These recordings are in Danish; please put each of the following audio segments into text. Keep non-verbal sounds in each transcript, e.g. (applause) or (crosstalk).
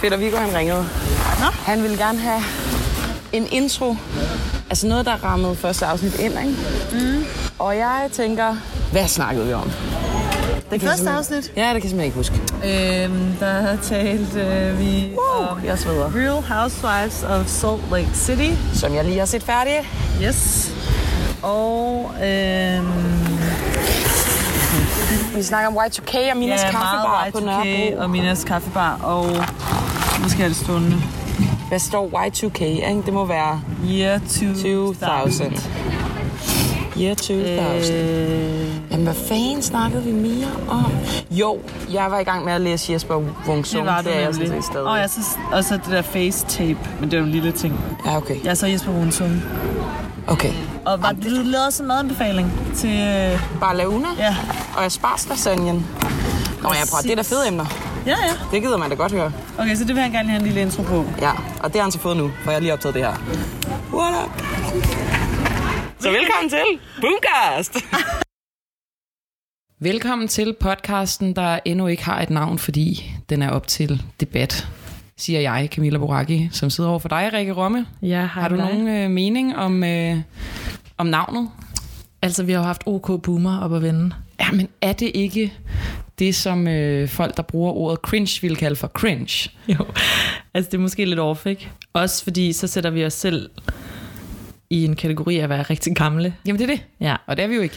Peter Viggo, han ringede. Nå? Han ville gerne have en intro. Altså noget, der rammede første afsnit ind, ikke? Mm. Og jeg tænker, hvad snakkede vi om? Det kan jeg Første simpelthen- afsnit? Ja, det kan jeg simpelthen ikke huske. Øhm, der talte øh, vi Uh, om jeg sveder. Real Housewives of Salt Lake City. Som jeg lige har set færdig. Yes. Og øhm, Vi snakker om Y2K og Minas ja, kaffebar meget på Y2K Nørrebro. og Minas Kaffebar. Og nu skal jeg det stående. Hvad står Y2K? Ikke? Det må være Year 2000. 2000. Year 2000. Øh, Jamen, hvad fanden snakkede vi mere om? Jo, jeg var i gang med at læse Jesper Wungsung. det var det, er jeg sådan nemlig. set stadig. Og jeg synes, og så det der face tape, men det er jo en lille ting. Ja, okay. Jeg så Jesper Rundtum. Okay. Og var, du lavede sådan en madanbefaling til... øh, Barlauna Ja, og aspargeslasanjen. Nå, jeg prøver, det er da fede emner. ja, ja. Det gider man da godt høre. Okay, så det vil han gerne lige have en lille intro på. Ja, og det har han så fået nu, for jeg har lige optaget det her. What up? Så velkommen til Boomcast! Velkommen til podcasten, der endnu ikke har et navn, fordi den er op til debat, siger jeg, Camilla Boracchi, som sidder over for dig, Rikke Romme. Ja, hej har du med dig. nogen øh, mening om, øh, om navnet? Altså, vi har jo haft OK Boomer op at vende. Ja, men er det ikke det, som øh, folk, der bruger ordet cringe, vil kalde for cringe? Jo, altså det er måske lidt off, ikke? Også fordi, så sætter vi os selv i en kategori af at være rigtig gamle. Jamen, det er det. Ja. Og det er vi jo ikke.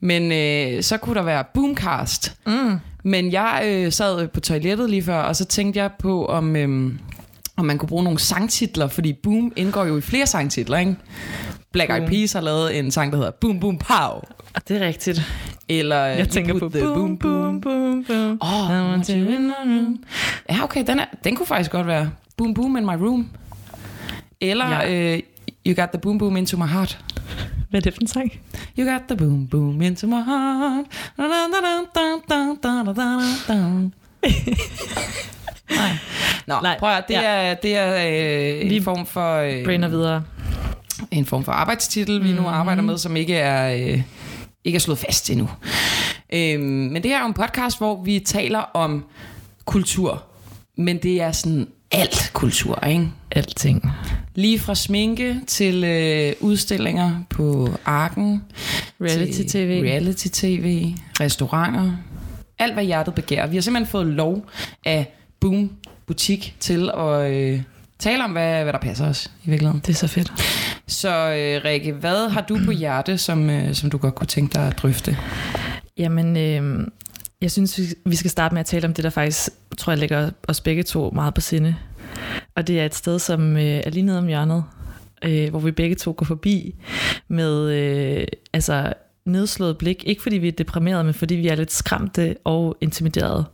Men øh, så kunne der være Boomcast. Mm. Men jeg øh, sad på toilettet lige før, og så tænkte jeg på, om, øh, om man kunne bruge nogle sangtitler, fordi Boom indgår jo i flere sangtitler, ikke? Black Mm. Eyed Peas har lavet en sang, der hedder Boom Boom Pow. Det er rigtigt. Eller øh, Jeg You tænker Put på the boom, boom, boom, boom. Åh, I want you in my room. Ja, okay, den, er, den kunne faktisk godt være Boom Boom in my room. Eller ja. øh, You got the boom boom into my heart. Hvad er det for en sang? You got the boom boom into my heart. Da, da, da, da, da, da, da, da, da. (laughs) Nej. Nå, Nej. Nej, prøv at høre, det ja. er, det er øh, en form for øh, Brainer videre. en form for arbejdstitel, vi nu arbejder med, som ikke er, øh, ikke er slået fast endnu. Øhm, men det her er jo en podcast, hvor vi taler om kultur, men det er sådan alt kultur, ikke? Alting. Lige fra sminke til øh, udstillinger på Arken. Reality-tv. Reality-tv, restauranter. Alt, hvad hjertet begærer. Vi har simpelthen fået lov af Boom Butik til at øh, tale om, hvad, hvad der passer os i virkeligheden. Det er så fedt. Så øh, Rikke, hvad har du på hjerte, som, øh, som du godt kunne tænke dig at drøfte? Jamen, øh, jeg synes, vi- vi skal starte med at tale om det, der faktisk, tror jeg, ligger os begge to meget på sinde. Og det er et sted, som øh, er lige nede om hjørnet, øh, hvor vi begge to går forbi med øh, altså nedslået blik. Ikke fordi vi er deprimerede, men fordi vi er lidt skræmte og intimiderede.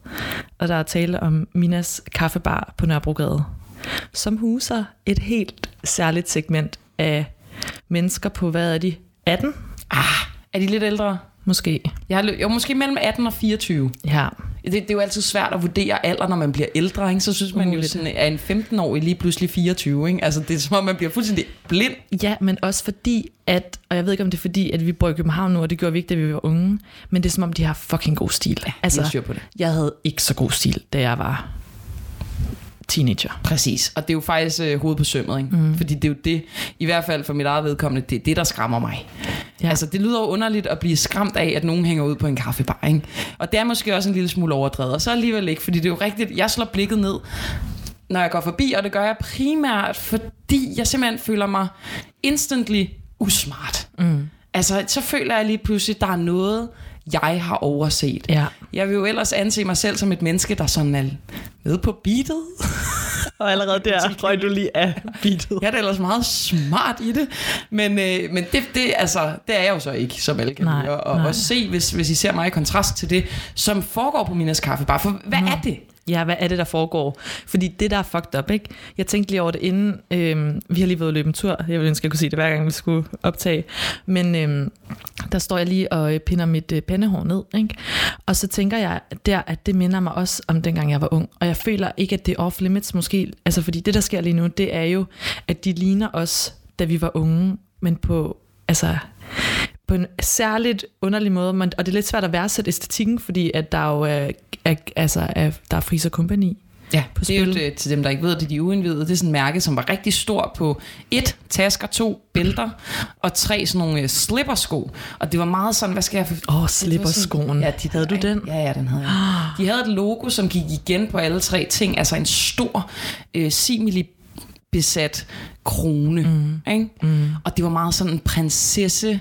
Og der er tale om Minas kaffebar på Nørrebrogade, som huser et helt særligt segment af mennesker på, hvad er de, 18 Er de lidt ældre? måske? Jeg har, lø- jo, måske mellem 18 og 24. Ja, Det, det er jo altid svært at vurdere alder, når man bliver ældre. Ikke? Så synes man jo, Umuligt. sådan, at en 15-årig lige pludselig 24. Ikke? Altså, det er som om, man bliver fuldstændig blind. Ja, men også fordi, at, og jeg ved ikke, om det er fordi, at vi bor i København nu, og det gjorde vi ikke, da vi var unge, men det er som om, de har fucking god stil. Ja, har styr på det. jeg havde ikke så god stil, da jeg var teenager. Præcis. Og det er jo faktisk øh, hovedet på sømmet. Ikke? Mm. Fordi det er jo det, i hvert fald for mit eget vedkommende, det er det, der skræmmer mig. Ja. Ja. Altså, det lyder jo underligt at blive skræmt af, at nogen hænger ud på en kaffebar. Ikke? Og det er måske også en lille smule overdrevet, og så alligevel ikke, fordi det er jo rigtigt, jeg slår blikket ned, når jeg går forbi, og det gør jeg primært, fordi jeg simpelthen føler mig instantly usmart. Mm. Altså, så føler jeg lige pludselig, at der er noget, jeg har overset. Ja. Jeg vil jo ellers anse mig selv som et menneske, der sådan er med på beatet. Og allerede der røg du lige af beatet. Jeg er da ellers meget smart i det, men, øh, men det, det, altså, det er jeg jo så ikke, som alle kan Nej, lide. Og, og nej. at se, hvis, hvis I ser mig i kontrast til det, som foregår på Minas Kaffebar. For hvad er det? Ja, hvad er det, der foregår? Fordi det, der er fucked up, ikke? Jeg tænkte lige over det inden. Øhm, vi har lige været ude at løbe en tur. Jeg ville ønske, jeg kunne sige det, hver gang vi skulle optage. Men øhm, der står jeg lige og øh, pinder mit øh, pandehår ned, ikke? Og så tænker jeg der, at det minder mig også om dengang, jeg var ung. Og jeg føler ikke, at det er off-limits måske. Altså, fordi det, der sker lige nu, det er jo, at de ligner os, da vi var unge. Men på, altså, på en særligt underlig måde, men, øh, og det er lidt svært at værdsætte æstetikken, fordi at der jo er, er, altså, er, der er Friis og Company, Ja, på det er jo spil. et, øh, til dem, der ikke ved det, de er uindvidede. Det er sådan en mærke, som var rigtig stor på et tasker, to bælter og tre sådan nogle øh, slippersko. Og det var meget sådan, hvad skal jeg... for- Åh, oh, slipper skoen. Ja, Ja, de, Havde du den? Ja, ja, den havde jeg. (gasps) De havde et logo, som gik igen på alle tre ting. Altså en stor øh, simili besat krone. Mm. Ikke? Mm. Og det var meget sådan en prinsesse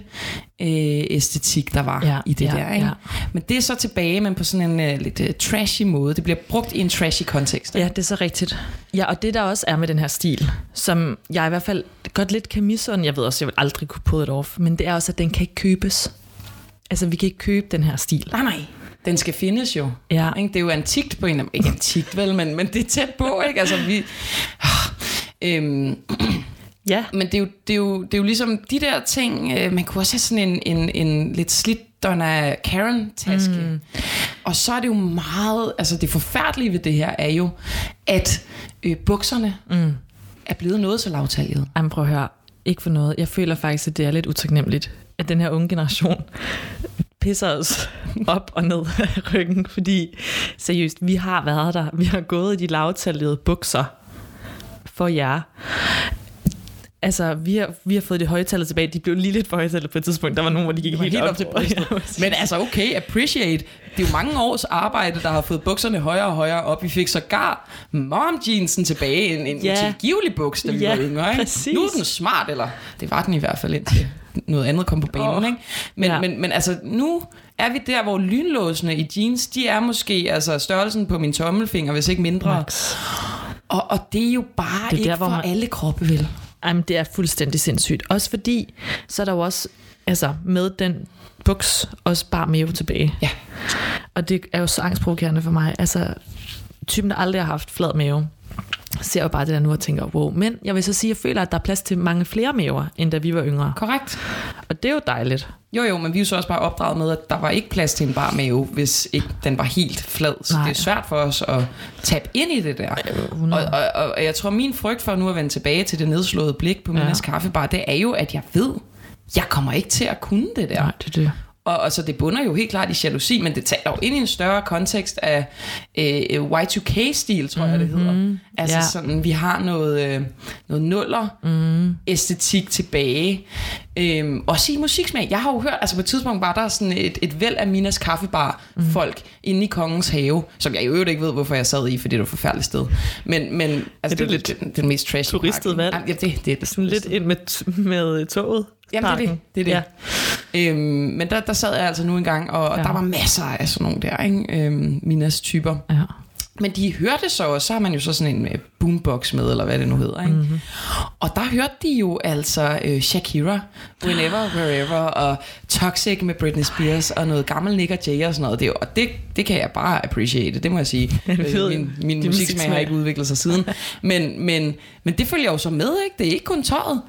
øh, æstetik, der var Ja, i det ja, der. Ikke? ja. Men det er så tilbage, men på sådan en øh, lidt øh, trashy måde. Det bliver brugt i en trashy kontekst. Ja, det er så rigtigt. Ja, og det der også er med den her stil, som jeg i hvert fald godt lidt kan misunde, jeg ved også, jeg vil aldrig kunne pull it off, men det er også, at den kan ikke købes. Altså, vi kan ikke købe den her stil. Nej, nej. Den skal findes jo. Ja. Ikke? Det er jo antikt på en eller anden... Ikke antikt, vel, men, men det er tæt på, ikke? Altså, vi... (sighs) Øhm, Ja, men det er, jo, det, er jo, det er jo ligesom de der ting, øh, man kunne også have sådan en, en, en lidt slidt Donna Karen-taske. Mm. Og så er det jo meget, altså det forfærdelige ved det her er jo, at øh, bukserne mm. er blevet noget så lavtalget. Jamen prøv at høre, ikke for noget. Jeg føler faktisk, at det er lidt utaknemmeligt, at den her unge generation pisser os op og ned af ryggen, fordi seriøst, vi har været der. Vi har gået i de lavtallede bukser for jer. Altså, vi har, vi har fået det højtallet tilbage. De blev lige lidt for højtallet på et tidspunkt. Der var nogen, hvor de gik Det var helt, helt op til brystet. (laughs) Ja, Men altså okay, appreciate. Det er jo mange års arbejde, der har fået bukserne højere og højere op. Vi fik sågar mom jeansen tilbage, en, en Ja. ja. tilgivelig buks, da vi Ja, var yngre. Ikke? præcis. Nu er den smart, eller det var den i hvert fald indtil noget andet kom på banen. Åh, Ikke? Men, ja. ja. men, men altså nu er vi der, hvor lynlåsene i jeans, de er måske altså størrelsen på min tommelfinger, hvis ikke mindre. Max. Og, og det er jo bare Det er ikke der, hvor for man- alle kroppe, vel? Jamen, det er fuldstændig sindssygt. Også fordi, så er der jo også, altså med den buks, også bare mere tilbage. Ja. Og det er jo så angstprovokerende for mig. Altså, typen, der aldrig har haft flad mave, ser jo bare det der nu og tænker, wow. Men jeg vil så sige, at jeg føler, at der er plads til mange flere maver, end da vi var yngre. Korrekt. Og det er jo dejligt. Jo jo, men vi er jo så også bare opdraget med, at der var ikke plads til en bar mave, hvis ikke den var helt flad. Så Nej. Nej. det er svært for os at tabe ind i det der. Og, og, og, og jeg tror, min frygt for nu at vende tilbage til det nedslåede blik på Minas Ja. kaffebar, det er jo, at jeg ved, jeg kommer ikke til at kunne det der. Nej, det er det. Og, og så det bunder jo helt klart i jalousi, men det taler jo ind i en større kontekst af øh, Y2K-stil, tror jeg, det hedder. Altså Mhm. ja. ja. sådan, vi har noget, øh, noget nuller Mhm. mm. æstetik tilbage. Øhm, også i musiksmag. Jeg har jo hørt, altså på et tidspunkt var der sådan et, et væld af Minas kaffebar Mhm. folk inde i Kongens Have, som jeg i øvrigt ikke ved, hvorfor jeg sad i, fordi det var et forfærdeligt sted. Men, men altså, det, det det, lidt det, det, den mest trashy turistet pakke, ikke? valg? Jamen, Ja, det, det er det Sådan lidt ind med, med toget. Jamen, det er det. det, er det. Ja. Ja. Øhm, men der, der sad jeg altså nu engang, og, og Ja. der var masser af sådan nogle der, ikke? Øhm, Minas typer. Ja. Men de hørte så også, så har man jo så sådan en øh, boombox med, eller hvad det nu hedder, ikke? Mm-hmm. Og der hørte de jo altså øh, Shakira, Whenever, Wherever, og Toxic med Britney Spears, og noget gammel Nick og Jay og sådan noget. Det, er jo- og det, det kan jeg bare appreciate, (laughs) det må jeg sige. Øh, Ja, det ved jeg. min min Din musiksmag har musiksmag. ikke udviklet sig siden. men, men, men det følger jo så med, ikke? Det er ikke kun tøjet.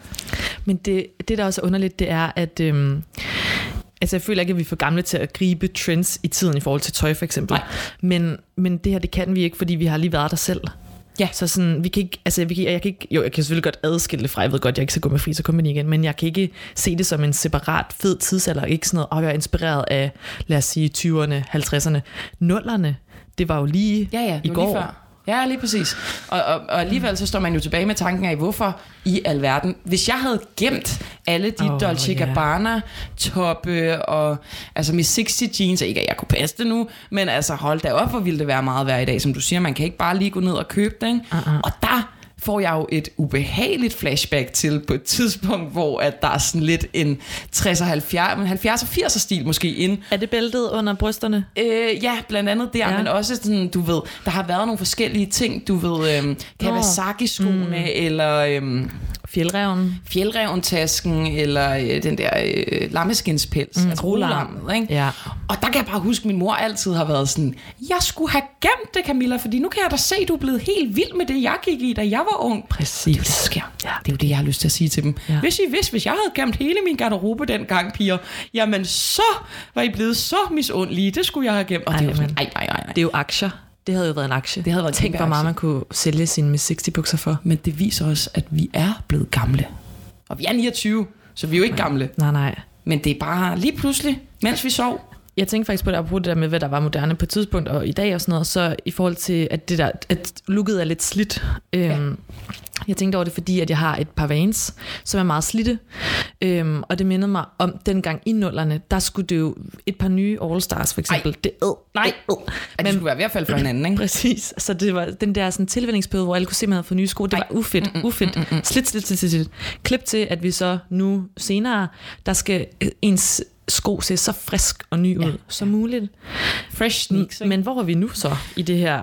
Men det, det, der også er underligt, det er, at... Øhm, altså, jeg føler ikke, at vi er for gamle til at gribe trends i tiden i forhold til tøj, for eksempel. Nej. Men, men det her, det kan vi ikke, fordi vi har lige været der selv. Ja. Så sådan, vi kan ikke, altså, vi kan, jeg kan ikke, jo, jeg kan selvfølgelig godt adskille det fra, jeg ved godt, jeg ikke skal gå med fri, så kommer igen, men jeg kan ikke se det som en separat fed tidsalder, ikke sådan noget, og jeg er inspireret af, lad os sige, 20'erne, 50'erne, 0'erne, det var jo lige Ja, ja, det i var går. Lige før. Ja, lige præcis. Og, og, og alligevel så står man jo tilbage med tanken af, hvorfor i alverden, hvis jeg havde gemt alle de Åh, oh, Dolce ja. Gabbana toppe og altså med 60 jeans, ikke at jeg kunne passe det nu, men altså hold da op, hvor ville det være meget værd i dag, som du siger, man kan ikke bare lige gå ned og købe det, ikke? Uh-uh. og der får jeg jo et ubehageligt flashback til på et tidspunkt, hvor at der er sådan lidt en 60'er, 70'er, 80'er stil måske ind, Er det bæltet under brysterne? Øh, ja, blandt andet der, Ja. ja. men også sådan, du ved, der har været nogle forskellige ting, du ved, øhm, Kawasaki-skoene, mm. eller øhm, Fjeldreven? fjeldreventasken, eller øh, den der øh, lammeskinspels, mm, altså rolam. rolammet, ikke? Ja. Og der kan jeg bare huske, at min mor altid har været sådan, jeg skulle have gemt det, Camilla, fordi nu kan jeg da se, du er blevet helt vild med det, jeg gik i, da jeg var ung. Det er jo det, der Præcis. sker. Ja. Det er jo det, jeg har lyst til at sige til dem. Ja. Ja. Hvis I vidste, hvis jeg havde gemt hele min garderobe dengang, piger, jamen så var I blevet så misundelige. Det skulle jeg have gemt. Og det Ej, er jo sådan, men- nej, nej, nej. Det er jo aktier. Det havde jo været en aktie. Det havde været en Tænk, kæmpe hvor meget aktie. man kunne sælge sine med 60 bukser for. Men det viser os, at vi er blevet gamle. Og vi er 29, så vi er jo ikke gamle. Nej, nej. Men det er bare lige pludselig, mens vi sov, Jeg tænkte faktisk på det, apropos det der med, hvad der var moderne på et tidspunkt, og i dag og sådan noget, så i forhold til, at, det der, at looket er lidt slidt. Øhm, ja. Jeg tænkte over det, fordi at jeg har et par vans, som er meget slidte, øhm, og det mindede mig om dengang i nullerne, der skulle det jo et par nye All Stars for eksempel. Ej. Det ad, Nej. ad, Ej, det Men- skulle være i hvert fald for hinanden, ikke? Præcis. Så det var den der sådan, tilvændingsperiode, hvor alle kunne se, at man havde fået nye sko. Det var ufedt, ufedt. Slidt, slidt, slidt, slidt, slidt. Klip til, at vi så nu senere, der skal øh, ens sko se så frisk og ny ud ja. som muligt. Fresh sneaks, ikke? Men hvor er vi nu så i det her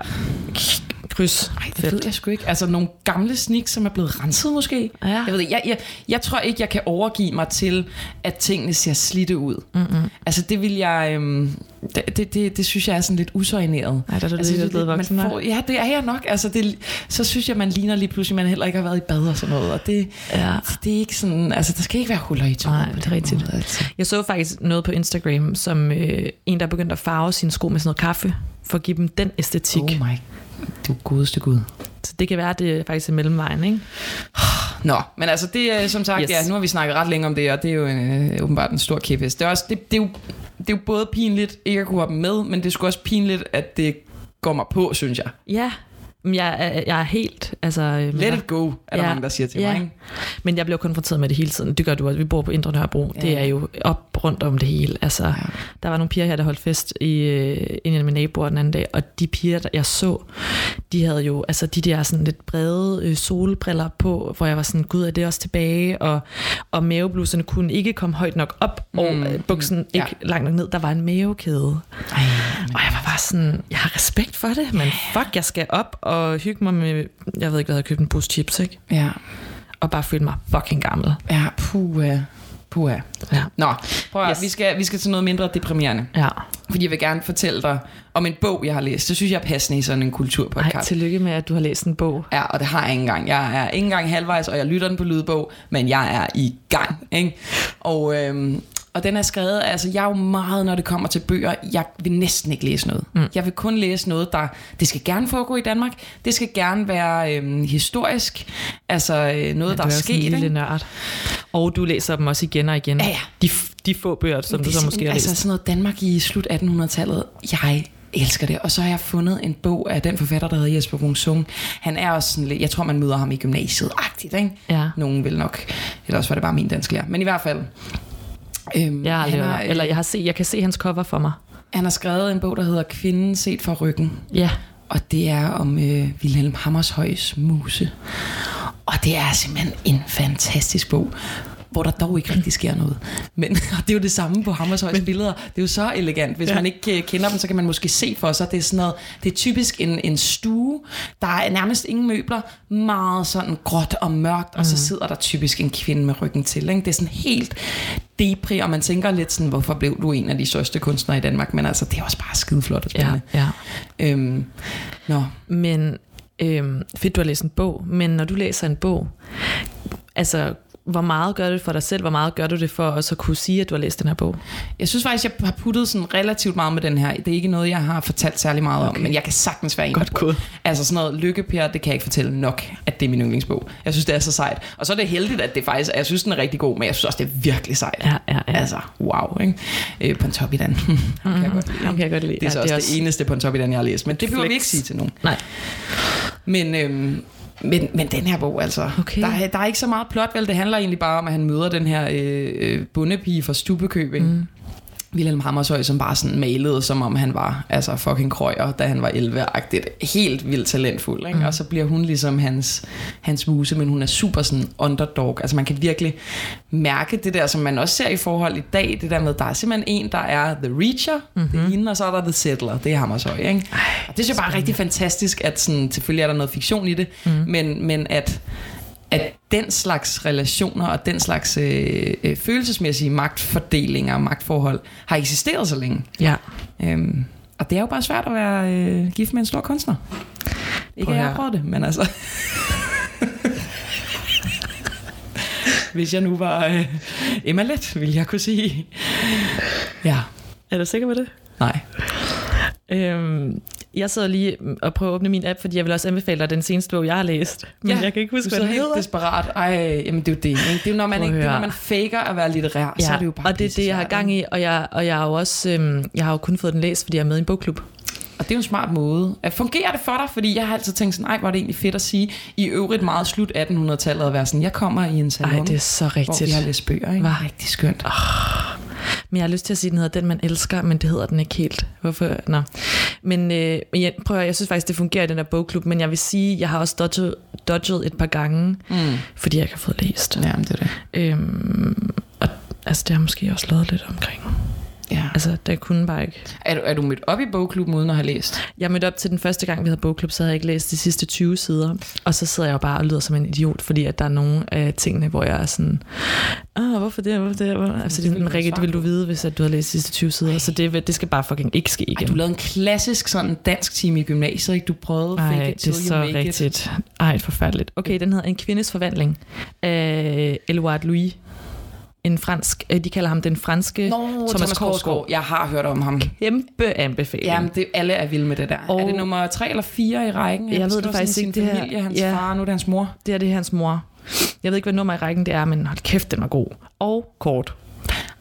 kryds? Ej, det ved jeg sgu ikke. Altså nogle gamle sneaks, som er blevet renset måske. Ja. Jeg, ved, ikke. jeg, jeg, jeg tror ikke, jeg kan overgive mig til, at tingene ser slidte ud. Mm-hmm. Altså det vil jeg... Øhm, det, det, det, det synes jeg er sådan lidt usøjneret. Ej, der er du altså, lige blevet man voksen, hva'? får, Ja, det er jeg nok. Altså, det, så synes jeg, man ligner lige pludselig, man heller ikke har været i bad og sådan noget. Og det, Ja. så det er ikke sådan... Altså, der skal ikke være huller i tøjet. Nej, på det er den rigtigt. Måde, altså. Jeg så faktisk noget på Instagram, som øh, en, der begyndte at farve sine sko med sådan noget kaffe, for at give dem den æstetik. Oh my... Du godeste Gud. Så det kan være, at det er faktisk er mellemvejen, ikke? Nå, men altså det er som sagt, yes. Yes. ja, nu har vi snakket ret længe om det, og det er jo en, øh, åbenbart en stor kæphest. Det er, også, det, det, er jo, det er jo både pinligt ikke at kunne have dem med, men det er sgu også pinligt, at det går mig på, synes jeg. Ja, men jeg, er- jeg er helt... Altså, øh, Let it go, er der Ja. mange, der siger til Ja. mig. Ikke? Men jeg bliver konfronteret med det hele tiden. Det gør du også. Vi bor på Indre Nørrebro. Ja. Det er jo op rundt om det hele. Altså, ja. Der var nogle piger her, der holdt fest i øh, en af mine naboer den anden dag, og de piger, der jeg så, de havde jo altså, de der sådan lidt brede øh, solbriller på, hvor jeg var sådan, gud, er det også tilbage? Og, og mavebluserne kunne ikke komme højt nok op, og Mm, øh, buksen mm, ikke ja. langt nok ned. Der var en mavekæde. Og jeg var bare sådan, jeg har respekt for det, men fuck, jeg skal op og hygge mig med, jeg ved ikke, hvad jeg havde købt en bus chips, ikke? Ja, Og bare føle mig fucking gammel. ja, puha, puha. Ja. Nå, prøv at, yes. Yes. vi, skal, vi skal til noget mindre deprimerende, Ja. fordi jeg vil gerne fortælle dig om en bog, jeg har læst. Det synes jeg er passende i sådan en kulturpodcast. Ej, tillykke med, at du har læst en bog. Ja, og det har jeg ikke engang. Jeg er ikke engang halvvejs, og jeg lytter den på lydbog, men jeg er i gang. Ikke? Og, øhm, og den er skrevet, altså jeg er jo meget, når det kommer til bøger, jeg vil næsten ikke læse noget. Mm. Jeg vil kun læse noget, der, det skal gerne foregå i Danmark, det skal gerne være øhm, historisk, altså øh, noget, der du er jo sådan sket. en lille ikke? nørd. Og du læser dem også igen og igen. Ja, ja. De, f- de få bøger, som Det du er så måske simpelthen- har altså, læst. sådan noget Danmark i slut 1800-tallet. Jeg elsker det. Og så har jeg fundet en bog af den forfatter, der hedder Jesper Wung Sung. Han er også sådan lidt, jeg tror, man møder ham i gymnasiet-agtigt, ikke? Ja. Nogen vil nok. Eller også var det bare min dansk lærer. Men i hvert fald. Øhm, Jeg har, han, aldrig, har, hørt- eller jeg, har set, jeg kan se hans cover for mig. han har skrevet en bog, der hedder Kvinden set fra ryggen. Ja. Og det er om øh, Vilhelm Hammershøjs muse. Og det er simpelthen en fantastisk bog hvor der dog ikke rigtig sker noget. Men (laughs) og det er jo det samme på Hammershøjs billeder. Det er jo så elegant. Hvis ja. man ikke øh, kender dem, så kan man måske se for sig, det er sådan noget, det er typisk en, en stue, der er nærmest ingen møbler, meget sådan gråt og mørkt, og så sidder der typisk en kvinde med ryggen til. Ikke? Det er sådan helt depri, og man tænker lidt sådan, hvorfor blev du en af de største kunstnere i Danmark? Men altså, det er også bare skideflot og ja, spændende. ja. Ja. Øhm, nå, Men øhm, fedt, du har læst en bog. Men når du læser en bog, altså hvor meget gør du det for dig selv? Hvor meget gør du det for også at kunne sige, at du har læst den her bog? Jeg synes faktisk, jeg har puttet sådan relativt meget med den her. Det er ikke noget, jeg har fortalt særlig meget okay. om, men jeg kan sagtens være en. Godt gået. Altså sådan noget lykkepær, det kan jeg ikke fortælle nok, at det er min yndlingsbog. Jeg synes, det er så sejt. Og så er det heldigt, at det faktisk er, jeg synes, den er rigtig god, men jeg synes også, det er virkelig sejt. Ja, ja, ja. Altså, wow, ikke? Øh, på en top i den. (laughs) kan jeg godt lide. Ham kan jeg godt lide. Mhm. Mm-hmm. Det er så Ja, også det eneste på en top i den, jeg har læst, men det behøver vi flex. ikke sige til nogen. Nej. Men, øhm, men, men den her bog, altså. Okay. Der, er- der er ikke så meget plot, vel? Det handler egentlig bare om, at han møder den her øh, øh, bondepige fra Stubekøbing. Mm. Vilhelm Hammershøi, som bare sådan malede, som om han var altså fucking krøjer, da han var 11-agtigt. Helt vildt talentfuld, ikke? Mm. Og så bliver hun ligesom hans, hans muse, men hun er super sådan underdog. Altså man kan virkelig mærke det der, som man også ser i forhold i dag, det der med, der er simpelthen en, der er The Reacher, mm-hmm. det er hende, og så er der The Settler, det er Hammershøi, ikke? Og det synes jeg bare er rigtig fantastisk, at sådan, selvfølgelig er der noget fiktion i det, mm. men, men at at den slags relationer og den slags øh, øh, følelsesmæssige magtfordelinger og magtforhold har eksisteret så længe. Ja. Øhm, og det er jo bare svært at være øh, gift med en stor kunstner. Ikke Prøv at at jeg har høre. prøvet det, men altså... Hvis jeg nu var øh, Emma Let, ville jeg kunne sige... Ja, Er du sikker på det? nej. Øhm, jeg sidder lige og prøver at åbne min app, fordi jeg vil også anbefale dig den seneste bog, jeg har læst. Men ja, jeg kan ikke du huske, hvad den er helt hedder. desperat. Ej, jamen det er jo det. Ikke? Det er jo, når man, Prøv at ikke, det er, høre. når man faker at være litterær, ja, så er det jo bare og det er det, jeg har pissesvært, gang i, og jeg, og jeg har jo også, øhm, jeg har jo kun fået den læst, fordi jeg er med i en bogklub. Og det er jo en smart måde. At fungerer det for dig? Fordi jeg har altid tænkt sådan, nej, hvor er det egentlig fedt at sige, i øvrigt meget slut 1800-tallet at være sådan, jeg kommer i en salon, Nej, det er så hvor rigtigt. vi har læst bøger. Ikke? Var rigtig skønt. Oh, Men jeg har lyst til at sige, at den hedder Den, man elsker, men det hedder den ikke helt. Hvorfor? Nå. Men øh, men jeg, prøv at, høre, jeg synes faktisk, det fungerer i den der bogklub, men jeg vil sige, jeg har også dodget, dodget et par gange, mm. fordi jeg ikke har fået læst. ja, men det er det. Øhm, og altså, det har måske også lavet lidt omkring. Ja. Altså, der kunne bare ikke. Er, du, er du mødt op i bogklubben uden at have læst? Jeg mødte op til den første gang, vi havde bogklub, så havde jeg ikke læst de sidste 20 sider. Og så sidder jeg jo bare og lyder som en idiot, fordi at der er nogle af tingene, hvor jeg er sådan, ah, hvorfor det, hvorfor det? Hvorfor? Altså, det, er ville sådan, du Rikke, svare det vil du vide, hvis at du har læst de sidste 20 sider. Så det, det skal bare fucking ikke ske Ej, igen. du lavede en klassisk sådan dansk time i gymnasiet, ikke? Du prøvede at Ej, fake it det er till you så make it. rigtigt. Ej, forfærdeligt. Okay, den hedder En kvindes forvandling af Eluard Louis. En fransk, øh, de kalder ham den franske Nå, Thomas, Thomas Korsgaard. Jeg har hørt om ham. Kæmpe anbefaling. Jamen, det, alle er vilde med det der. Og Og- er det nummer tre eller fire i rækken? Han Jeg ved det beskriver sådan faktisk sin ikke, det her- Familie, hans Ja. far, og nu er det hans mor. Det her det er hans mor. Jeg ved ikke, hvad nummer i rækken det er, men hold kæft, den var god. Og kort.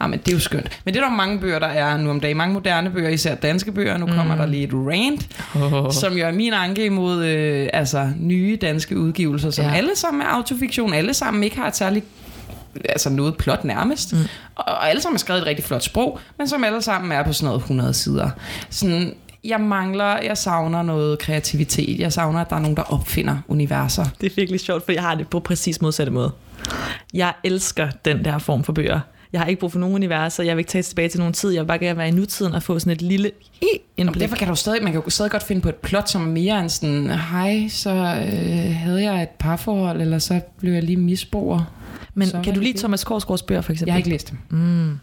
Ah, men det er jo skønt. Men det er der jo mange bøger, der er nu om dagen. Mange moderne bøger, især danske bøger. Nu kommer der lige et rant, oh. som jo er min anke imod øh, altså, nye danske udgivelser, som ja. Ja. alle sammen er autofiktion, alle sammen ikke har et særligt altså noget plot nærmest. Mm. Og, og alle sammen er skrevet i et rigtig flot sprog, men som alle sammen er på sådan noget 100 sider. Sådan, jeg mangler, jeg savner noget kreativitet. Jeg savner, at der er nogen, der opfinder universer. Det er virkelig sjovt, for jeg har det på præcis modsatte måde. Jeg elsker den der form for bøger. Jeg har ikke brug for nogen universer, jeg vil ikke tage tilbage til nogen tid, jeg vil bare gerne være i nutiden og få sådan et lille i Men indblik. derfor kan du stadig, man kan jo stadig godt finde på et plot, som er mere end sådan, hej, så øh, havde jeg et parforhold, eller så blev jeg lige misbruger. Men Så er kan du det lide det. Thomas Korsgaards bøger, for eksempel? Jeg har ikke læst dem.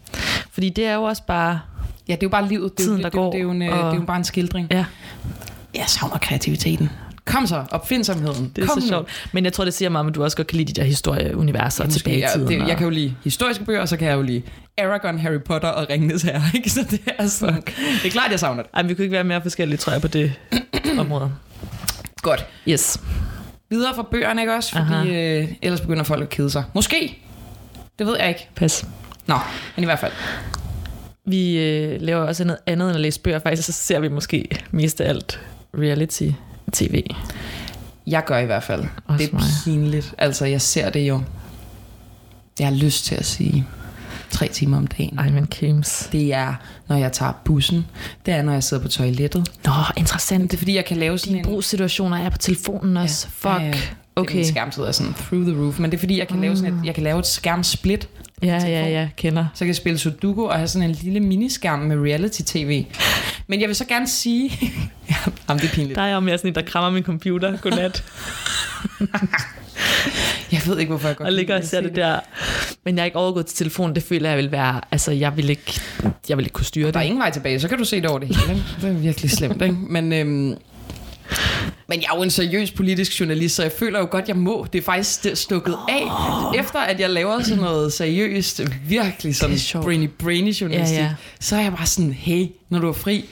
Fordi det er jo også bare... Ja, det er jo bare livet. Det er jo, det, Tiden, der det, er jo- går, det, er jo en, øh, og- det er jo bare en skildring. Ja, Jeg savner kreativiteten. Kom så, opfindsomheden. det er Kom Kom så nu. sjovt. Men jeg tror, det siger meget, om, at du også godt kan lide de der historieuniverser Jamen, og tilbage i jeg, tiden. det, jeg og- kan jo lide historiske bøger, og så kan jeg jo lide Aragon, Harry Potter og Ringenes Herre. (laughs) Ikke? Så det er, sådan, det er klart, jeg savner det. Ej, men vi kunne ikke være mere forskellige, tror jeg, på (clears throat) det område. Godt. Yes. Videre fra bøgerne, ikke også? Fordi øh, ellers begynder folk at kede sig. Måske. Det ved jeg ikke. Pas. Nå, men i hvert fald. Vi øh, laver også noget andet end at læse bøger. Faktisk så ser vi måske mest af alt reality-tv. Jeg gør i hvert fald. Også det er mig. pinligt. Altså, jeg ser det jo. Jeg har lyst til at sige tre timer om dagen. Ej, men Kims. Det er, når jeg tager bussen. Det er, når jeg sidder på toilettet. Nå, interessant. Det er, fordi jeg kan lave sådan en... Brugssituationer er på telefonen også. Ja. Fuck. Ja, ja. Det er, Okay. Ah. Min skærmtid er sådan through the roof. Men det er, fordi jeg kan, lave, sådan et, jeg kan lave et skærmsplit. Ja, ja, ja. Kender. Så kan jeg spille Sudoku og have sådan en lille miniskærm med reality-tv. Men jeg vil så gerne sige... (laughs) Jamen, det er pinligt. Der er jeg mere sådan en, der krammer min computer. Godnat. Jeg ved ikke, hvorfor jeg godt og kan lide ligger og at ser se det der. Men jeg er ikke overgået til telefonen. Det føler jeg vil være... Altså, jeg vil ikke, jeg vil ikke kunne styre Der er det. ingen vej tilbage, så kan du se det over det hele. ikke? Det er virkelig slemt, ikke? Men, øhm, men jeg er jo en seriøs politisk journalist, så jeg føler jo godt, jeg må. Det er faktisk st- stukket af, efter at jeg laver sådan noget seriøst, virkelig sådan Det er sjovt. brainy brainy journalistik. Ja, ja. Så er jeg bare sådan, hey, når du er fri,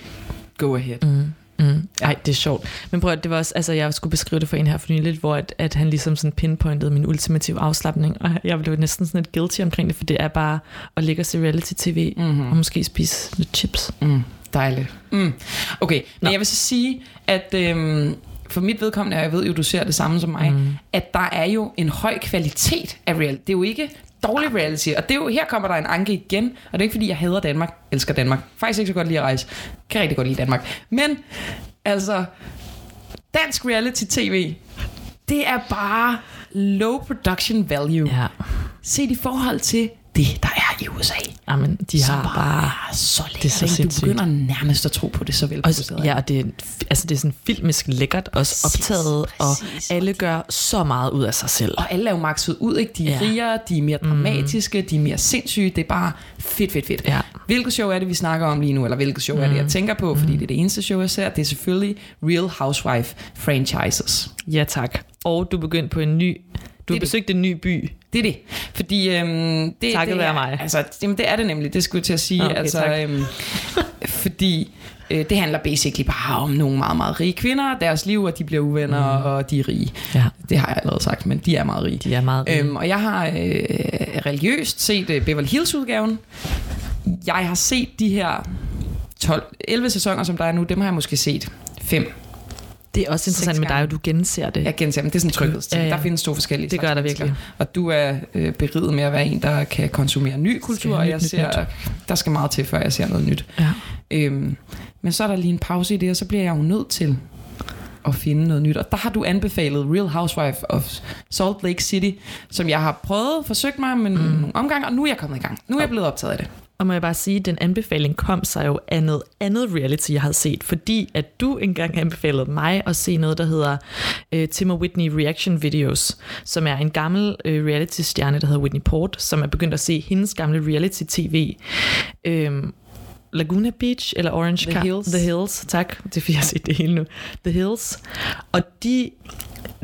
go ahead. Mm. Mm. Ej, det er sjovt. Men prøv at, det var også, altså jeg skulle beskrive det for en her for nylig, hvor at, at han ligesom sådan pinpointede min ultimative afslappning, og jeg blev næsten sådan lidt guilty omkring det, for det er bare at ligge og se reality-tv, Mhm. mm-hmm. og måske spise lidt chips. Mm, dejligt. Mm. Okay, men Nå. jeg vil så sige, at øhm, for mit vedkommende, og jeg ved jo, du ser det samme som mig, mm. at der er jo en høj kvalitet af reality. Det er jo ikke dårlig reality, og det er jo, her kommer der en anke igen, og det er ikke fordi, jeg hader Danmark, elsker Danmark, faktisk ikke så godt lide at rejse, kan rigtig godt lide Danmark, men altså, dansk reality-tv, det er bare low production value, Ja, set i forhold til det, der er i USA Amen, Ah, de har bare... er så lækkert. Det er så ikke? sindssygt. Du begynder nærmest at tro på det, så vel Og, ja, og Ah, det, er- altså det er sådan filmisk lækkert, også optaget, præcis. og alle gør så meget ud af sig selv. og alle er jo makset ud, ikke? De er ja. Ja. Mm. rigere, de er mere dramatiske, de er mere sindssyge. Det er bare fedt, fedt, fedt. Ja. Hvilket show er det, vi snakker om lige nu? Eller hvilket show mm. er det, jeg tænker på? Fordi det er det eneste show, jeg ser. Det er selvfølgelig Real Housewife Franchises. Ja tak. Og du begyndte på en ny... Du har det. besøgt en ny by. Det er det. Fordi øhm, det, Takket det er, være mig. Altså, jamen, det er det nemlig, det skulle jeg til at sige. Nå, okay, altså, tak. øhm, fordi Øh, det handler basically bare om nogle meget, meget rige kvinder, deres liv, og de bliver uvenner, mm. og de er rige. Ja. Det har jeg allerede sagt, men de er meget rige. De er meget rige. Øhm, og jeg har øh, religiøst set øh, Beverly Hills-udgaven. Jeg har set de her 12, 11 sæsoner, som der er nu, dem har jeg måske set fem. Det er også interessant med dig, at du genser det. Jeg genser dem. Det er sådan en tryghedsting. Ja, Ja, ja. ja. Der findes to forskellige Det gør slags der virkelig. mennesker. Og du er øh, beriget med at være en, der kan konsumere ny kultur, have og nyt, jeg nyt, ser, der skal meget til, før jeg ser noget nyt. Ja. Øhm, men så er der lige en pause i det, og så bliver jeg jo nødt til at finde noget nyt. Og der har du anbefalet Real Housewife of Salt Lake City, som jeg har prøvet, forsøgt mig med mm. nogle omgange, og nu er jeg kommet i gang. Nu er jeg blevet optaget af det. Og må jeg bare sige, at den anbefaling kom sig jo af noget andet reality, jeg havde set, fordi at du engang anbefalede mig at se noget, der hedder øh, Tim og Whitney Reaction Videos, som er en gammel øh, reality-stjerne, der hedder Whitney Port, som er begyndt at se hendes gamle reality-tv. Øhm, Laguna Beach eller Orange The County. Hills. The Hills, tak. Det er fordi, jeg har set det hele nu. The Hills. Og de,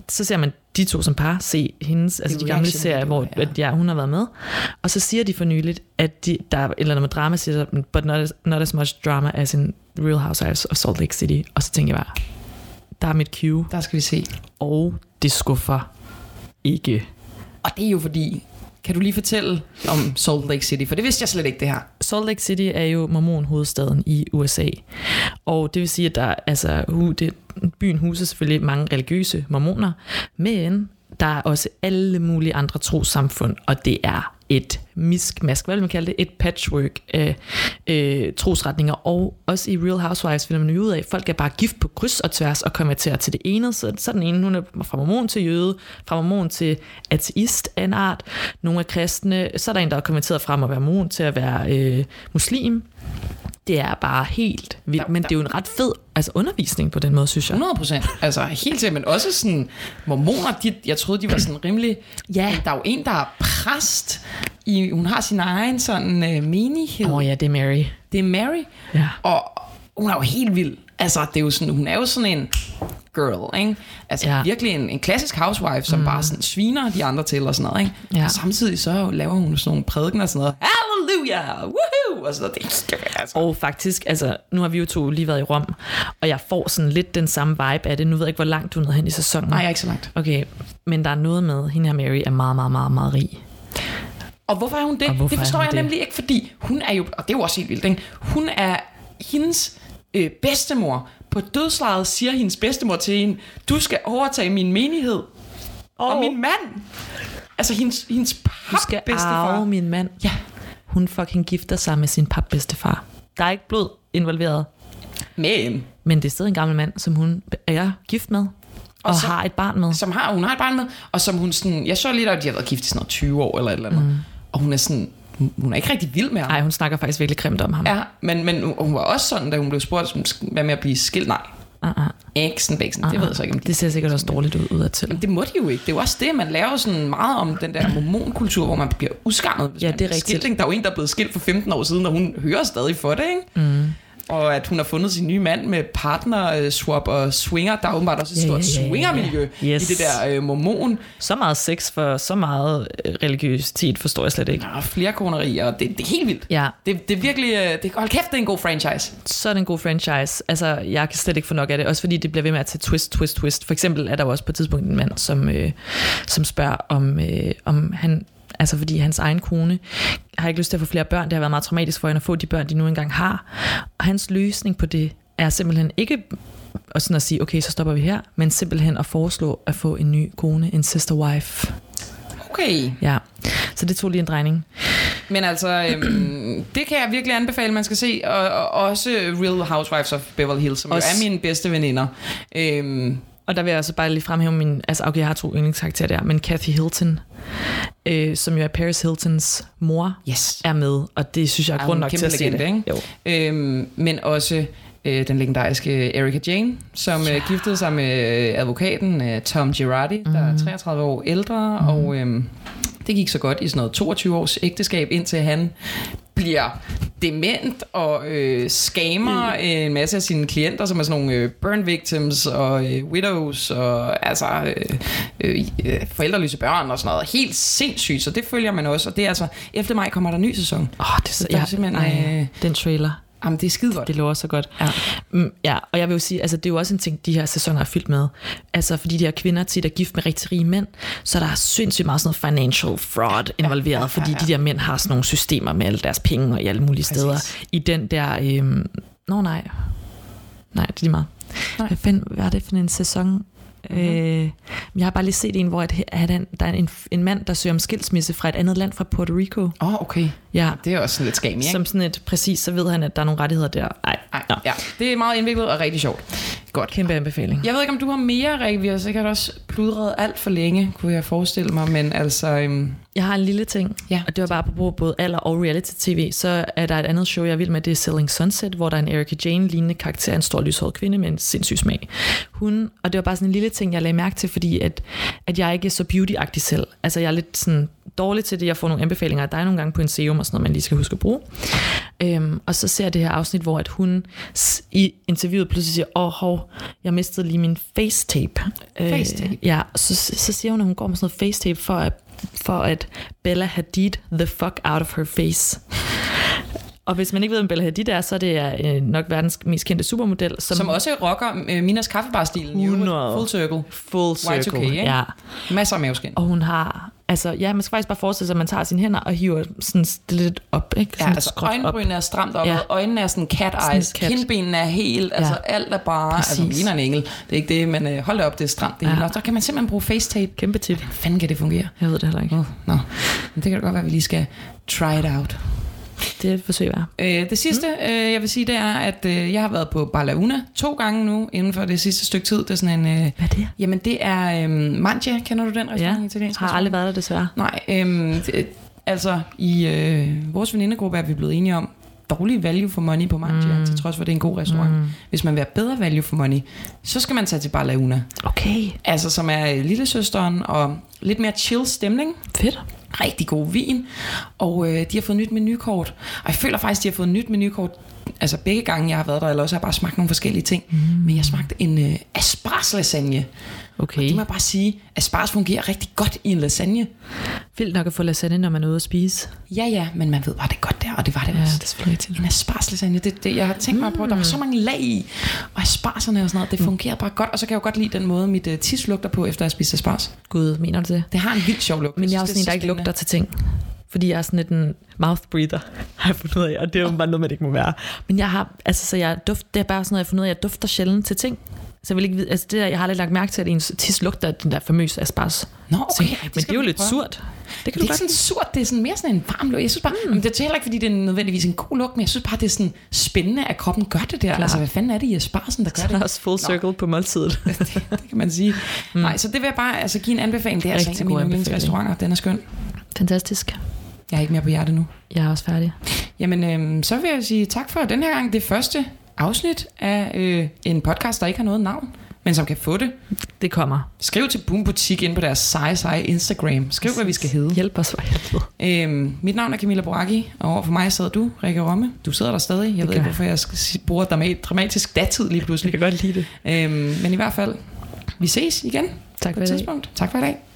så ser man de to som par se hendes, altså de gamle reaction serier, hvor videoer, ja. ja. ja, hun har været med. Og så siger de for nyligt, at de, der er et eller andet med drama, siger de, but not as, not as much drama as in Real Housewives of Salt Lake City. Og så tænker jeg bare, der er mit cue, Der skal vi se. og det skuffer ikke. Og det er jo fordi, kan du lige fortælle om Salt Lake City? For det vidste jeg slet ikke, det her. Salt Lake City er jo mormonhovedstaden i USA. Og det vil sige, at der, altså, hu, det, byen huser selvfølgelig mange religiøse mormoner, men der er også alle mulige andre trosamfund, og det er et miskmask, hvad vil man kalde det? Et patchwork af øh, trosretninger. Og også i Real Housewives finder man jo ud af, at folk er bare gift på kryds og tværs og konverterer til det ene. Så, så den ene, hun er fra mormon til jøde, fra mormon til ateist af en art. Nogle er kristne. Så er der en, der er konverteret fra at være mormon til at være øh, muslim. Det er bare helt vildt, Der- men der- det er jo en ret fed altså undervisning på den måde, synes jeg. 100 procent. Altså helt til, men også sådan, mormoner, de, jeg troede, de var sådan rimelig... Ja. Der er jo en, der er præst. I, hun har sin egen sådan øh, menighed. Åh oh, ja, det er Mary. Det er Mary. Ja. Og hun er jo helt vild. Altså, det er jo sådan, hun er jo sådan en girl, ikke? Altså Ja. ja. virkelig en, en klassisk housewife, som mm. bare sådan sviner de andre til og sådan noget, ikke? Ja. Og samtidig så laver hun sådan nogle prædikener og sådan noget. Halleluja! Woohoo! Og sådan noget. Det er, altså, Og faktisk, altså, nu har vi jo to lige været i Rom, og jeg får sådan lidt den samme vibe af det. Nu ved jeg ikke, hvor langt du er nået hen i sæsonen. nej, jeg er ikke så langt. Okay, men der er noget med, hende her Mary er meget, meget, meget, meget rig. Og hvorfor er hun det? Og hvorfor Det forstår er jeg hun det? nemlig ikke, fordi hun er jo, og det er jo også helt vildt, ikke? hun er hendes øh, bedstemor. På dødslejet siger hendes bedstemor til hende, du skal overtage min menighed oh. og min mand. Altså hendes, hendes Du skal papbedstefar. arve min mand. Ja, Hun fucking gifter sig med sin papbedstefar. Der er ikke blod involveret, men men det er stadig en gammel mand, som hun er gift med, og, og så- har et barn med. som har, hun har et barn med, og som hun sådan, jeg så lige der, at de har været gift i sådan noget 20 år eller et eller andet. Mm. Og hun er sådan, hun- hun er ikke rigtig vild med ham. Nej, hun snakker faktisk virkelig grimt om ham. Ja, men, men hun- hun var også sådan, da hun blev spurgt, sådan, hvad med at blive skilt? Nej, Uh-uh. eksen, bæksen, det ved jeg så ikke, om de Det ser sikkert også dårligt ud udadtil. Men det må de jo ikke. Det er jo også det, man laver sådan meget om den der mormonkultur, hvor man bliver uskammet. Hvis Ja, man det er bliver rigtigt. skilt, ikke? Der er jo en, der er blevet skilt for 15 år siden, og hun hører stadig for det, ikke? Mm. Og at hun har fundet sin nye mand med partner, øh, swap og swinger. Der er åbenbart også et Ja, stort ja, ja, ja, ja. swingermiljø Yes. i det der øh, mormon. Så meget sex for så meget øh, religiøsitet forstår jeg slet ikke. Der er flere konerier, og det, det er helt vildt. Ja, Det, det er virkelig... øh, Det, hold kæft, det er en god franchise. så er det en god franchise. Altså, jeg kan slet ikke få nok af det, også fordi det bliver ved med at tage twist, twist, twist. For eksempel er der jo også på et tidspunkt en mand, som, øh, som spørger, om, øh, om han, altså fordi hans egen kone har ikke lyst til at få flere børn. Det har været meget traumatisk for hende at få de børn, de nu engang har. Og hans løsning på det er simpelthen ikke og sådan at sige, okay, så stopper vi her, men simpelthen at foreslå at få en ny kone, en sister wife. Okay. Ja, så det tog lige en drejning. Men altså, øhm, det kan jeg virkelig anbefale, man skal se. Og, og også Real Housewives of Beverly Hills, som Også- også. jo er mine bedste veninder. Øhm, Og der vil jeg også bare lige fremhæve min... Altså, okay, jeg har to yndlingskarakterer der, men Kathy Hilton, øh, som jo er Paris Hiltons mor, yes. er med, og det synes jeg er Er grund hun nok kæmpe til at se det. legende, ikke? Jo. Øhm, men også øh, den legendariske Erika Jane, som ja. øh, giftede sig med øh, advokaten øh, Tom Girardi, mm. der er 33 år ældre, mm. og øhm, det gik så godt i sådan noget 22 års ægteskab, indtil han bliver dement og øh, skamer mm. en masse af sine klienter, som er sådan nogle øh, burn victims og øh, widows og altså øh, øh, øh, forældreløse børn og sådan noget. Helt sindssygt, så det følger man også. Og det er altså, efter maj kommer der en ny sæson. Åh, oh, det er så... Der er simpelthen, øh, den trailer. Jamen, det er skide godt. Det lover så godt. Ja. Mm, ja, og jeg vil jo sige, altså, det er jo også en ting, de her sæsoner er fyldt med. Altså, fordi de her kvinder tit er gift med rigtig rige mænd, så der er sindssygt meget sådan noget financial fraud involveret, ja, ja, ja, ja. fordi de der mænd har sådan nogle systemer med alle deres penge og i alle mulige Præcis. steder. I den der... Øhm, Nå nej. Nej, det er lige meget. Nej. Hvad, fanden, hvad er det for en sæson? Mm-hmm. Øh, jeg har bare lige set en, hvor et, at han, der er en, en mand, der søger om skilsmisse fra et andet land, fra Puerto Rico. Åh, oh, okay. Ja, Det er også sådan lidt skam, ikke? som sådan et, præcis, så ved han, at der er nogle rettigheder der. Ej, Ej, nå. ja. Det er meget indviklet og rigtig sjovt. Godt. Kæmpe anbefaling. Jeg ved ikke, om du har mere, Rikke. Vi har sikkert også pludret alt for længe, kunne jeg forestille mig. Men altså, øhm, Jeg har en lille ting, Ja. og det var bare på både alder og reality-tv. Så er der et andet show, jeg vil med, det er Selling Sunset, hvor der er en Erika Jane-lignende karakter, en stor lyshåret kvinde med en sindssyg smag. Hun, og det var bare sådan en lille ting, jeg lagde mærke til, fordi at, at jeg ikke er så beauty selv. Altså jeg er lidt sådan dårlig til det, jeg får nogle anbefalinger af dig nogle gange på en serum og sådan noget, man lige skal huske at bruge. Øhm, og så ser jeg det her afsnit, hvor at hun s- i interviewet pludselig siger, åh, hov, jeg mistede lige min face tape. Øh, Face tape? Ja, og så, så siger hun, at hun går med sådan noget face tape for at, for at Bella Hadid the fuck out of her face. Og hvis man ikke ved, hvem Bella Hadid er, så er det øh, nok verdens mest kendte supermodel, som, som også rocker øh, Minas kaffebar-stilen. i øvrigt. 100. Full circle. full Y2K, circle. ikke? ja. Masser af maveskin. Og hun har, altså ja, man skal faktisk bare forestille sig, at man tager sine hænder og hiver sådan det lidt op, ikke? Ja, Sådan altså skråt op. øjenbrynene er stramt op, ja. Ja. øjnene er sådan cat Sådan eyes, cat. kindbenene er helt, ja. altså alt er bare, Præcis. altså Præcis. ligner en engel. Det er ikke det, men øh, hold da op, det er stramt det ja. Ja. hele. Og så kan man simpelthen bruge facetape. Kæmpe tip. Hvordan fanden kan det fungere? Jeg ved det heller ikke. Oh, nå, men det kan da godt være, at vi lige skal try it out. Det er et forsøg værd. Øh, det sidste, mm. øh, jeg vil sige, det er, at øh, jeg har været på Balauna to gange nu, inden for det sidste stykke tid. Det er sådan en... Øh, Hvad er det? jamen, det er øh, Mangia. Kender du den restaurant? Ja, italiensk har restaurant? aldrig været der desværre. Nej, øhm, det, altså i øh, vores venindegruppe er vi blevet enige om dårlig value for money på Mangia, mm. til trods for, at det er en god restaurant. Mm. Hvis man vil have bedre value for money, så skal man tage til Bar La Una. Okay, Altså, som er øh, lillesøsteren og lidt mere chill stemning. fedt. Rigtig god vin. Og øh, de har fået nyt menukort. Og jeg føler faktisk, de har fået nyt menukort altså begge gange, jeg har været der, eller også har jeg bare smagt nogle forskellige ting. Mm. Men jeg smagte en øh, asparges lasagne. Okay. Det må jeg bare sige, asparges fungerer rigtig godt i en lasagne. Vildt nok at få lasagne, når man er ude at spise. Ja, ja, men man ved bare, det er godt der, og det var det Ja, Mm. også. det er selvfølgelig rigtigt. En aspargeslasagne, det, det, jeg har tænkt mig på, der var så mange lag i, og aspargerne og sådan noget, Mm. det fungerer bare godt, og så kan jeg jo godt lide den måde, mit uh, tis lugter på, efter jeg spiser asparges. Gud, mener du det? Det har en vildt sjov lugt. Men jeg er synes, også det en, der så ikke spændende. lugter til ting. Fordi jeg er sådan lidt en mouth breather, (laughs) har jeg fundet ud af, og det er jo bare noget, man ikke må være. Men jeg har, altså, så jeg duft, det er bare sådan noget, jeg har fundet ud af, jeg dufter sjældent til ting. Så jeg vil ikke vide, altså det der, jeg har lidt lagt mærke til, at ens tis lugter af den der famøse asparges. Nå, okay, ej, det men skal det er jo vi lidt prøve. surt. Det er Det kan du ikke godt sådan surt, det er sådan mere sådan en varm lugt. Jeg synes bare, mm. det er heller ikke, fordi det er nødvendigvis en god lugt, men jeg synes bare, det er sådan spændende, at kroppen gør det der. Klar. Altså, hvad fanden er det i aspargesen, der (laughs) gør Der det? er (laughs) også full circle på måltidet. det kan man sige. Mm. Nej, så det vil jeg bare altså, give en anbefaling. Det er Rigtig altså en god af mine anbefaling. yndlingsrestauranter. Den er skøn. Fantastisk. Jeg er ikke mere på hjerte nu. Jeg er også færdig. Jamen, øhm, så vil jeg sige tak for den her gang. Det første afsnit af øh, en podcast, der ikke har noget navn, men som kan få det. Det kommer. Skriv til Boom Butik ind på deres seje, seje Instagram. Skriv, hvad vi skal hedde. Hjælp os for helvede. Øhm, mit navn er Camilla Boracchi, og overfor mig sidder du, Rikke Romme. Du sidder der stadig. Jeg ved gør ikke, jeg. hvorfor jeg skal sige- bruger drama- dramatisk datid (laughs) lige pludselig. godt lide det. Øhm, men i hvert fald, vi ses igen Tak på for et i dag. tidspunkt. Tak for i dag.